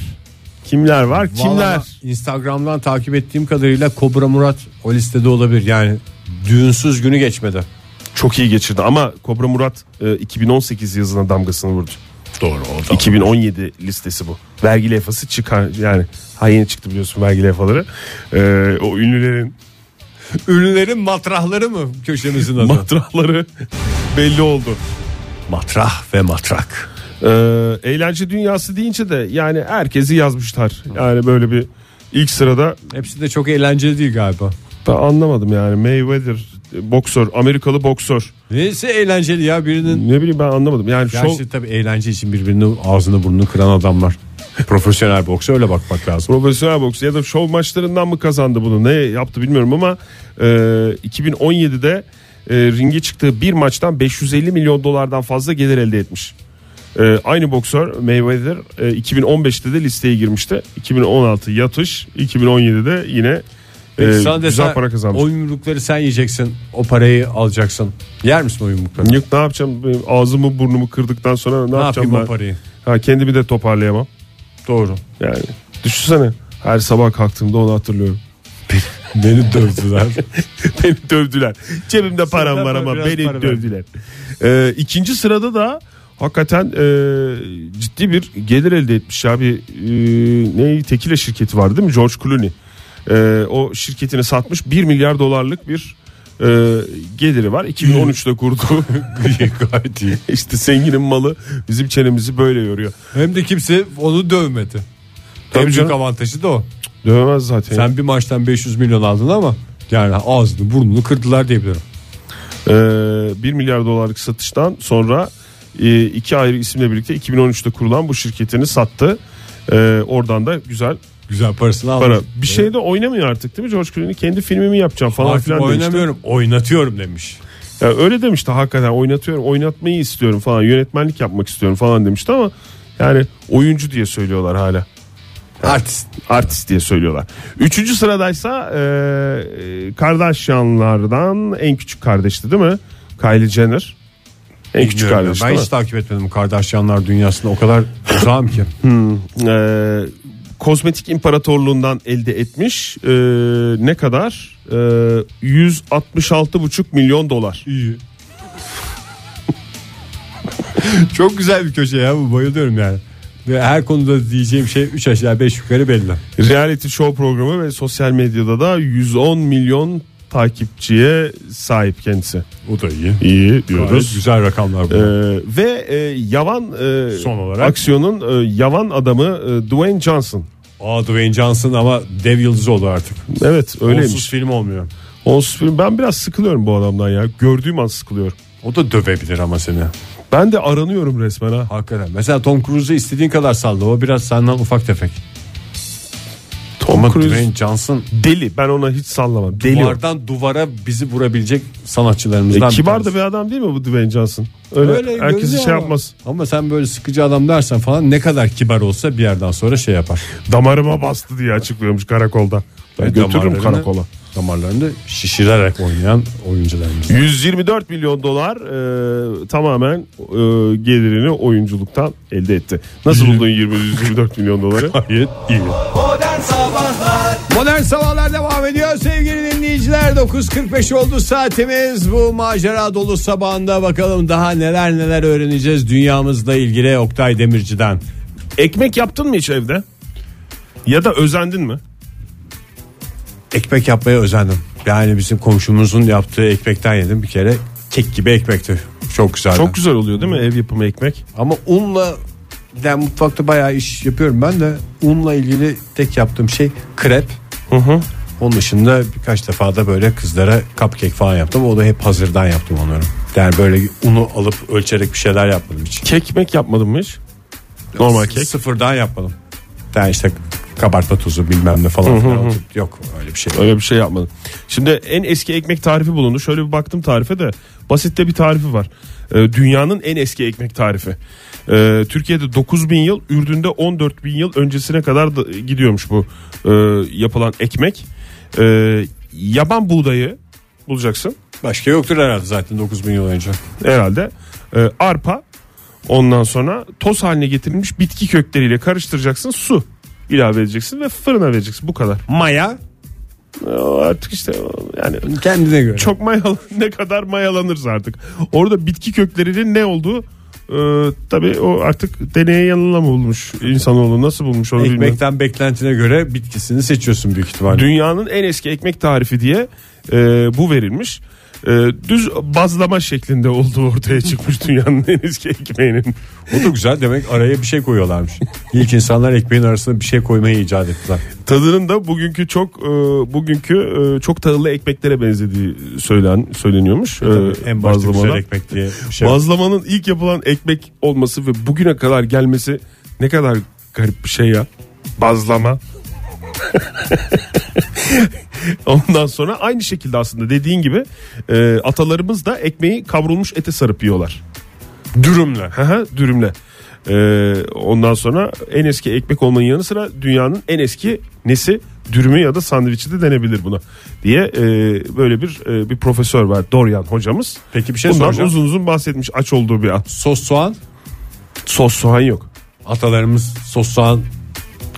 [SPEAKER 3] Kimler var? Kimler?
[SPEAKER 2] Vallahi Instagram'dan takip ettiğim kadarıyla Kobra Murat o listede olabilir. Yani düğünsüz günü geçmedi.
[SPEAKER 3] Çok iyi geçirdi ama Kobra Murat e, 2018 yazına damgasını vurdu.
[SPEAKER 2] Doğru oldu.
[SPEAKER 3] 2017 listesi bu. Vergi levhası çıkar yani. Ha yeni çıktı biliyorsun vergi levhaları. Ee, o ünlülerin
[SPEAKER 2] Ünlülerin matrahları mı köşemizin adı?
[SPEAKER 3] matrahları belli oldu.
[SPEAKER 2] matrah ve matrak.
[SPEAKER 3] Ee, eğlence dünyası deyince de yani herkesi yazmışlar. Yani böyle bir ilk sırada
[SPEAKER 2] Hepsi de çok eğlenceli değil galiba.
[SPEAKER 3] ben anlamadım yani Mayweather e, boksör Amerikalı boksör
[SPEAKER 2] Neyse eğlenceli ya birinin.
[SPEAKER 3] ne bileyim ben anlamadım yani
[SPEAKER 2] Gerçi
[SPEAKER 3] şov
[SPEAKER 2] tabii eğlence için birbirinin ağzını burnunu kıran adamlar. Profesyonel boksa öyle bakmak lazım.
[SPEAKER 3] profesyonel boks ya da şov maçlarından mı kazandı bunu ne yaptı bilmiyorum ama e, 2017'de e, ringe çıktığı bir maçtan 550 milyon dolardan fazla gelir elde etmiş. E, aynı boksör Mayweather e, 2015'te de listeye girmişti. 2016 yatış, 2017'de yine e,
[SPEAKER 2] Peki sana
[SPEAKER 3] güzel
[SPEAKER 2] desen,
[SPEAKER 3] para kazanmış.
[SPEAKER 2] O yumrukları sen yiyeceksin. O parayı alacaksın. Yer misin o yumrukları?
[SPEAKER 3] Yok ne yapacağım? Benim Ağzımı burnumu kırdıktan sonra ne,
[SPEAKER 2] Ne
[SPEAKER 3] yapacağım
[SPEAKER 2] yapayım
[SPEAKER 3] ben?
[SPEAKER 2] o parayı?
[SPEAKER 3] Ha, kendimi de toparlayamam.
[SPEAKER 2] Doğru.
[SPEAKER 3] Yani düşünsene her sabah kalktığımda onu hatırlıyorum.
[SPEAKER 2] Beni dövdüler.
[SPEAKER 3] beni dövdüler. Cebimde param
[SPEAKER 2] Senden
[SPEAKER 3] var ama
[SPEAKER 2] biraz para
[SPEAKER 3] beni
[SPEAKER 2] ver.
[SPEAKER 3] dövdüler. Ee, ikinci sırada da hakikaten e, ciddi bir gelir elde etmiş abi. E, ne tekile şirketi vardı değil mi? George Clooney. E, o şirketini satmış 1 milyar dolarlık bir e, geliri var. 2013'te kurdu.
[SPEAKER 2] Gayet iyi.
[SPEAKER 3] işte zenginin malı bizim çenemizi böyle yoruyor.
[SPEAKER 2] Hem de kimse onu dövmedi.
[SPEAKER 3] Tabii
[SPEAKER 2] en büyük
[SPEAKER 3] canım.
[SPEAKER 2] avantajı da o.
[SPEAKER 3] Dövmez zaten.
[SPEAKER 2] Sen bir maçtan 500 milyon aldın ama yani ağzını burnunu kırdılar diyebilirim.
[SPEAKER 3] Ee, 1 milyar dolarlık satıştan sonra e, iki ayrı isimle birlikte 2013'te kurulan bu şirketini sattı. Ee, oradan da güzel
[SPEAKER 2] Güzel parasını aldı.
[SPEAKER 3] para. Bir şey de oynamıyor artık değil mi George Clooney? Kendi filmimi yapacağım falan
[SPEAKER 2] Artık
[SPEAKER 3] filan demişti.
[SPEAKER 2] oynamıyorum oynatıyorum demiş.
[SPEAKER 3] Ya öyle demişti hakikaten oynatıyorum oynatmayı istiyorum falan yönetmenlik yapmak istiyorum falan demişti ama yani oyuncu diye söylüyorlar hala.
[SPEAKER 2] Artist.
[SPEAKER 3] Artist diye söylüyorlar. Üçüncü sıradaysa e, e, Kardashianlardan en küçük kardeşti değil mi? Kylie Jenner. En küçük
[SPEAKER 2] Bilmiyorum ya,
[SPEAKER 3] kardeş
[SPEAKER 2] Ben
[SPEAKER 3] değil mi?
[SPEAKER 2] hiç takip etmedim Kardashianlar dünyasında o kadar uzağım ki.
[SPEAKER 3] Ee, kozmetik imparatorluğundan elde etmiş Ee, ne kadar Ee, 166,5 milyon dolar
[SPEAKER 2] İyi. Çok güzel bir köşe ya bu bayılıyorum yani. Ve her konuda diyeceğim şey 3 aşağı 5 yukarı belli.
[SPEAKER 3] reality show programı ve sosyal medyada da 110 milyon takipçiye sahip kendisi
[SPEAKER 2] O da iyi.
[SPEAKER 3] iyi
[SPEAKER 2] Gayet
[SPEAKER 3] diyoruz
[SPEAKER 2] güzel rakamlar
[SPEAKER 3] Ee,
[SPEAKER 2] bu.
[SPEAKER 3] ve e, yavan e,
[SPEAKER 2] Son olarak.
[SPEAKER 3] aksiyonun e, yavan adamı e, Dwayne Johnson
[SPEAKER 2] Aa Dwayne Johnson ama dev yıldızı oldu artık.
[SPEAKER 3] evet öyleymiş
[SPEAKER 2] Onsuz film olmuyor.
[SPEAKER 3] Onsuz film. ben biraz sıkılıyorum bu adamdan ya gördüğüm an sıkılıyorum
[SPEAKER 2] O da dövebilir ama seni.
[SPEAKER 3] ben de aranıyorum resmen ha
[SPEAKER 2] Hakikaten. Mesela Tom Cruise'u istediğin kadar salla. O biraz senden ufak tefek.
[SPEAKER 3] Tom
[SPEAKER 2] ama
[SPEAKER 3] Cruise-
[SPEAKER 2] Dwayne Johnson
[SPEAKER 3] Deli. Ben ona hiç sallamam. Deli. o.
[SPEAKER 2] duvardan duvara bizi vurabilecek
[SPEAKER 3] E,
[SPEAKER 2] sanatçılarımızdan.
[SPEAKER 3] kibar
[SPEAKER 2] tanesi.
[SPEAKER 3] da bir adam değil mi bu Dwayne Johnson? Öyle, herkesi
[SPEAKER 2] görünüyor
[SPEAKER 3] şey
[SPEAKER 2] ama.
[SPEAKER 3] yapmaz.
[SPEAKER 2] Ama sen böyle sıkıcı adam dersen falan ne kadar kibar olsa bir yerden sonra şey yapar.
[SPEAKER 3] Damarıma bastı diye açıklıyormuş karakolda. E, Ben
[SPEAKER 2] Ve
[SPEAKER 3] götürürüm
[SPEAKER 2] damarlarını-
[SPEAKER 3] karakola.
[SPEAKER 2] Damarlarını şişirerek oynayan oyuncularımız.
[SPEAKER 3] 124 milyon dolar e, tamamen e, gelirini oyunculuktan elde etti. Nasıl buldun 20 124 milyon doları?
[SPEAKER 2] Gayet iyi.
[SPEAKER 1] Modern Sabahlar
[SPEAKER 2] Modern Sabahlar devam ediyor sevgili dinleyiciler. 9.45 oldu saatimiz. Bu macera dolu sabahında bakalım daha neler neler öğreneceğiz dünyamızla ilgili Oktay Demirci'den.
[SPEAKER 3] Ekmek yaptın mı hiç evde? Ya da özendin mi?
[SPEAKER 2] Ekmek yapmaya özendim. Yani bizim komşumuzun yaptığı ekmekten yedim bir kere. Kek gibi ekmekti. Çok güzeldi.
[SPEAKER 3] Çok güzel oluyor değil mi ev yapımı ekmek?
[SPEAKER 2] Ama unla yani mutfakta bayağı iş yapıyorum ben de unla ilgili tek yaptığım şey krep. Onun dışında birkaç defa da böyle kızlara cupcake falan yaptım. O da hep hazırdan yaptım onları. Yani böyle unu alıp ölçerek bir şeyler yapmadım hiç.
[SPEAKER 3] Kekmek yapmadın mı hiç? Normal kek.
[SPEAKER 2] Sıfırdan yapmadım. Yani işte kabartma tuzu bilmem ne falan filan. Yok öyle bir şey.
[SPEAKER 3] Öyle bir şey yapmadım. Şimdi en eski ekmek tarifi bulundu. Şöyle bir baktım tarife de basitte bir tarifi var. Ee, dünyanın en eski ekmek tarifi. Ee, Türkiye'de 9000 yıl, Ürdün'de 14000 yıl öncesine kadar da gidiyormuş bu e, yapılan ekmek. Ee, yaban buğdayı bulacaksın
[SPEAKER 2] Başka yoktur herhalde zaten 9000 yıl önce.
[SPEAKER 3] herhalde. Ee, arpa ondan sonra toz haline getirilmiş bitki kökleriyle karıştıracaksın. Su ilave edeceksin ve fırına vereceksin. Bu kadar.
[SPEAKER 2] Maya
[SPEAKER 3] Ee, artık işte yani
[SPEAKER 2] kendine göre.
[SPEAKER 3] çok mayalan ne kadar mayalanırız artık. Orada bitki köklerinin ne olduğu Ee, tabii o artık deneye yanılma bulmuş insanoğlu nasıl bulmuş onu bilmiyorum.
[SPEAKER 2] Ekmekten beklentine göre bitkisini seçiyorsun büyük ihtimalle.
[SPEAKER 3] Dünyanın en eski ekmek tarifi diye e, bu verilmiş. E, düz bazlama şeklinde olduğu ortaya çıkmış dünyanın en eski ekmeğinin.
[SPEAKER 2] Bu da güzel demek araya bir şey koyuyorlarmış. İlk insanlar ekmeğin arasına bir şey koymayı icat ettiler.
[SPEAKER 3] Ee, Tadının da bugünkü çok e, bugünkü e, çok tahıllı ekmeklere benzediği söylen söyleniyormuş. E,
[SPEAKER 2] en başta
[SPEAKER 3] bazlamadan.
[SPEAKER 2] güzel ekmek diye bir şey. var.
[SPEAKER 3] Bazlamanın ilk yapılan ekmek olması ve bugüne kadar gelmesi ne kadar garip bir şey ya. Bazlama. Ondan sonra aynı şekilde aslında dediğin gibi e, atalarımız da ekmeği kavrulmuş ete sarıp yiyorlar. Dürümle. Hı hı, Dürümle. E, ondan sonra en eski ekmek olmanın yanı sıra dünyanın en eski nesi dürümü ya da sandviçi de denebilir buna diye e, böyle bir e, bir profesör var Dorian hocamız.
[SPEAKER 2] Peki bir şey
[SPEAKER 3] Bundan
[SPEAKER 2] soracağım.
[SPEAKER 3] uzun uzun bahsetmiş aç olduğu bir an.
[SPEAKER 2] Sos soğan
[SPEAKER 3] Sos soğan yok.
[SPEAKER 2] atalarımız sos soğan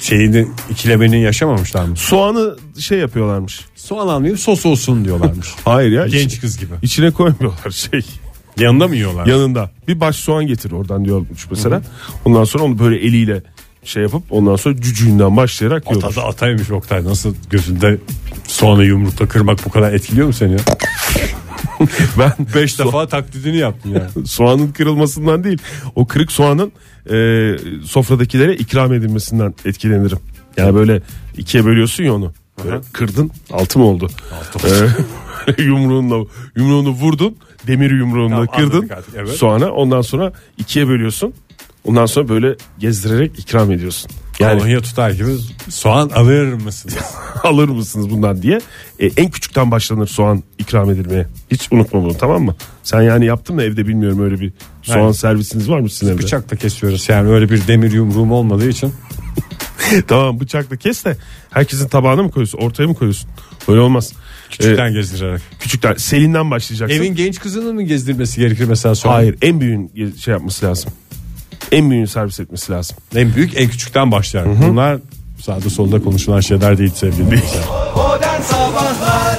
[SPEAKER 2] şeyini ikilemenin yaşamamışlar mı?
[SPEAKER 3] Soğanı şey yapıyorlarmış.
[SPEAKER 2] Soğan almayıp sos olsun diyorlarmış.
[SPEAKER 3] Hayır ya.
[SPEAKER 2] Genç
[SPEAKER 3] iç-
[SPEAKER 2] kız gibi.
[SPEAKER 3] İçine koymuyorlar şey
[SPEAKER 2] Yanında mı yiyorlar?
[SPEAKER 3] yanında. Bir baş soğan getir oradan diyormuş mesela. Ondan sonra onu böyle eliyle şey yapıp ondan sonra cücüğünden başlayarak yiyorlar.
[SPEAKER 2] Ata da ataymış Oktay. Nasıl gözünde soğanı yumrukla kırmak bu kadar etkiliyor mu seni ya?
[SPEAKER 3] Ben
[SPEAKER 2] Beş defa taklidini yaptın ya.
[SPEAKER 3] soğanın kırılmasından değil o kırık soğanın e, sofradakilere ikram edilmesinden etkilenirim. Yani böyle ikiye bölüyorsun ya onu. Böyle kırdın altı mı oldu?
[SPEAKER 2] Altı oldu.
[SPEAKER 3] E, yumruğunla yumruğunu vurdun demir yumruğunla
[SPEAKER 2] Tamam,
[SPEAKER 3] kırdın
[SPEAKER 2] anladık artık, evet.
[SPEAKER 3] soğana ondan sonra ikiye bölüyorsun. Ondan sonra böyle gezdirerek ikram ediyorsun. Yani
[SPEAKER 2] Kolonya tutar gibi soğan alır mısın?
[SPEAKER 3] alır mısınız bundan diye. E, en küçükten başlanır soğan ikram edilmeye. Hiç unutma bunu tamam mı? Sen yani yaptın mı evde bilmiyorum öyle bir soğan
[SPEAKER 2] Hayır.
[SPEAKER 3] servisiniz var mı sizin evde?
[SPEAKER 2] Bıçakla kesiyoruz yani öyle bir demir yumruğum olmadığı için.
[SPEAKER 3] tamam bıçakla kes de herkesin tabağına mı koyuyorsun ortaya mı koyuyorsun? Öyle olmaz.
[SPEAKER 2] Küçükten
[SPEAKER 3] Ee,
[SPEAKER 2] gezdirerek.
[SPEAKER 3] küçükten selinden başlayacaksın.
[SPEAKER 2] Evin genç kızını mı gezdirmesi gerekir mesela soğan?
[SPEAKER 3] Hayır en büyüğün ge- şey yapması lazım. En büyüğün servis etmesi lazım.
[SPEAKER 2] En büyük en küçükten başlar. Bunlar sağda solda konuşulan şeyler değil sevgili dinleyiciler.
[SPEAKER 1] Modern Sabahlar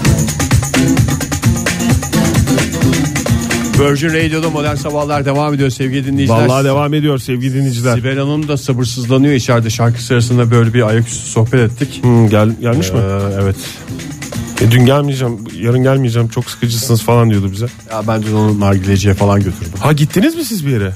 [SPEAKER 2] Virgin Radio'da modern sabahlar devam ediyor sevgili dinleyiciler.
[SPEAKER 3] Vallahi devam ediyor sevgili dinleyiciler.
[SPEAKER 2] Sibel Hanım da sabırsızlanıyor içeride şarkı sırasında böyle bir ayaküstü sohbet ettik.
[SPEAKER 3] Hmm, gel, gelmiş mi?
[SPEAKER 2] Ee, evet.
[SPEAKER 3] E, dün gelmeyeceğim, yarın gelmeyeceğim çok sıkıcısınız falan diyordu bize.
[SPEAKER 2] Ya ben dün onu nargileciye falan götürdüm.
[SPEAKER 3] Ha gittiniz mi siz bir yere?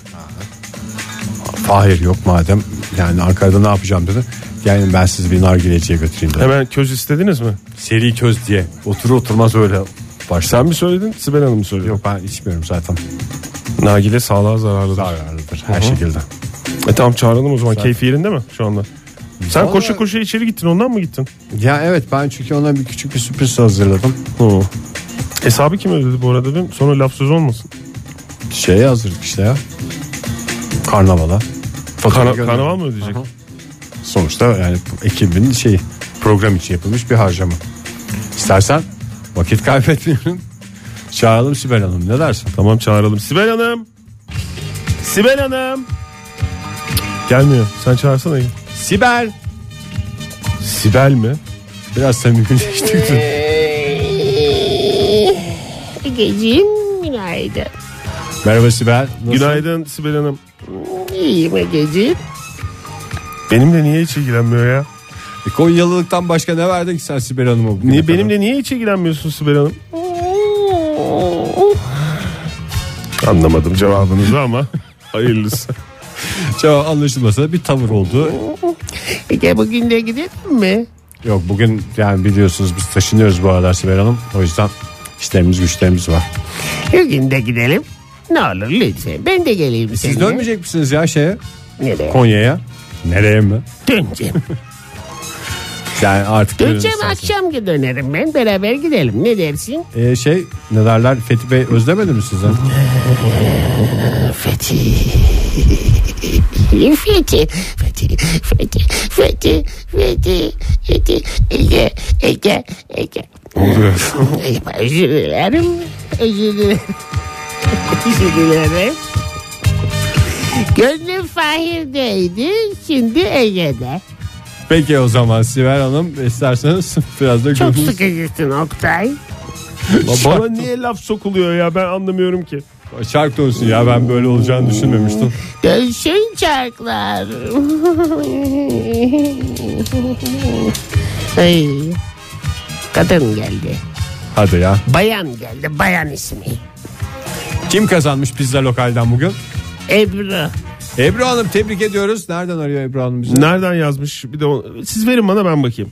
[SPEAKER 2] Hayır yok madem yani Ankara'da ne yapacağım dedi. Yani ben sizi bir nargileciye götüreyim dedi.
[SPEAKER 3] Hemen köz istediniz mi?
[SPEAKER 2] Seri köz diye oturur oturmaz öyle başlar.
[SPEAKER 3] Sen mi söyledin Sibel Hanım mı söyledi?
[SPEAKER 2] Yok ben içmiyorum zaten.
[SPEAKER 3] Nagile sağlığa zararlıdır.
[SPEAKER 2] Zararlıdır her
[SPEAKER 3] Hı hı.
[SPEAKER 2] şekilde.
[SPEAKER 3] E tamam çağıralım o zaman. Keyfi yerinde mi şu anda? Sen
[SPEAKER 2] Vallahi-
[SPEAKER 3] koşa koşa içeri gittin ondan mı gittin?
[SPEAKER 2] Ya evet ben çünkü ona bir küçük bir sürpriz hazırladım.
[SPEAKER 3] Hı. Hesabı kim ödedi bu arada dedim. Sonra laf söz olmasın.
[SPEAKER 2] Şeye hazırladık işte ya. Karnavala. Fatura
[SPEAKER 3] Kana,
[SPEAKER 2] gönderdim.
[SPEAKER 3] karnaval mı ödeyecek?
[SPEAKER 2] Sonuçta yani bu ekibin şeyi program için yapılmış bir harcama. İstersen vakit kaybetmeyelim. Çağıralım Sibel Hanım ne dersin?
[SPEAKER 3] Tamam çağıralım. Sibel Hanım. Sibel Hanım. Gelmiyor. Sen çağırsana.
[SPEAKER 2] Sibel.
[SPEAKER 3] Sibel mi?
[SPEAKER 2] Biraz samimileştik. dün.
[SPEAKER 7] Egeciğim günaydın.
[SPEAKER 2] Merhaba Sibel. Nasıl?
[SPEAKER 3] Günaydın Sibel Hanım.
[SPEAKER 7] İyiyim Egeciğim.
[SPEAKER 3] Benimle niye hiç ilgilenmiyor ya?
[SPEAKER 2] E, Konyalılıktan başka ne verdin ki sen Sibel Hanım'a? bugüne
[SPEAKER 3] Niye,
[SPEAKER 2] kadar?
[SPEAKER 3] benimle niye hiç ilgilenmiyorsun Sibel Hanım? Anlamadım cevabınızı ama hayırlısı.
[SPEAKER 2] Cevap anlaşılmasa da bir tavır oldu.
[SPEAKER 7] Ege bugün de gidelim mi?
[SPEAKER 2] Yok bugün yani biliyorsunuz biz taşınıyoruz bu aralar Sibel Hanım. O yüzden işlerimiz güçlerimiz var.
[SPEAKER 7] Bugün de gidelim. Ne olur lütfen ben de geleyim
[SPEAKER 2] Siz
[SPEAKER 7] seninle.
[SPEAKER 2] dönmeyecek misiniz ya şeye?
[SPEAKER 7] Nereye?
[SPEAKER 2] Konya'ya. Nereye mi?
[SPEAKER 7] Döneceğim.
[SPEAKER 2] Yani artık
[SPEAKER 7] Döneceğim
[SPEAKER 2] buyurun istersen.
[SPEAKER 7] akşam dönerim ben beraber gidelim ne dersin?
[SPEAKER 2] Ee, şey ne derler Fethi Bey özlemedi mi sizi?
[SPEAKER 7] Fethi. Fethi. Fethi. Fethi. Fethi. Fethi. Fethi. Ege. Ege. Ege. Özür dilerim. Özür dilerim. Özür dilerim. Gönlüm Fahir'deydi. Şimdi Ege'de.
[SPEAKER 2] Peki o zaman Sibel Hanım isterseniz biraz da
[SPEAKER 7] Çok
[SPEAKER 2] gönlünüz-
[SPEAKER 7] sıkıcısın Oktay.
[SPEAKER 3] Bana niye laf sokuluyor ya ben anlamıyorum ki.
[SPEAKER 2] Çark dönsün ya ben böyle olacağını düşünmemiştim.
[SPEAKER 7] Dönsün çarklar. Ay, kadın geldi.
[SPEAKER 2] Hadi ya.
[SPEAKER 7] Bayan geldi. Bayan ismi.
[SPEAKER 2] Kim kazanmış pizza lokalden bugün?
[SPEAKER 7] Ebru.
[SPEAKER 2] Ebru Hanım tebrik ediyoruz. Nereden arıyor Ebru Hanım bizi?
[SPEAKER 3] Nereden yazmış? Bir de o- siz verin bana ben bakayım.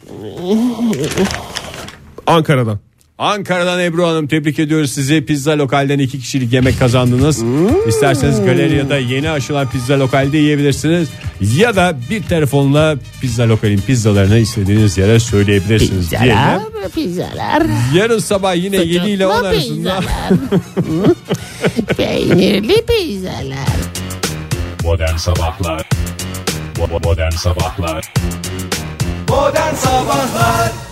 [SPEAKER 3] Ankara'dan.
[SPEAKER 2] Ankara'dan Ebru Hanım tebrik ediyoruz sizi. Pizza lokalden iki kişilik yemek kazandınız.
[SPEAKER 7] Hmm.
[SPEAKER 2] İsterseniz galeriyada yeni açılan pizza lokalde yiyebilirsiniz. Ya da bir telefonla pizza lokalin pizzalarını istediğiniz yere söyleyebilirsiniz.
[SPEAKER 7] Pizzalar.
[SPEAKER 2] Diyelim.
[SPEAKER 7] Pizzalar.
[SPEAKER 2] Yarın sabah yine 7 ile 10
[SPEAKER 7] Sucuklu
[SPEAKER 2] arasında
[SPEAKER 7] pizzalar. Peynirli pizzalar.
[SPEAKER 8] Modern Sabahlar Bo- bo- Modern Sabahlar
[SPEAKER 1] Modern Sabahlar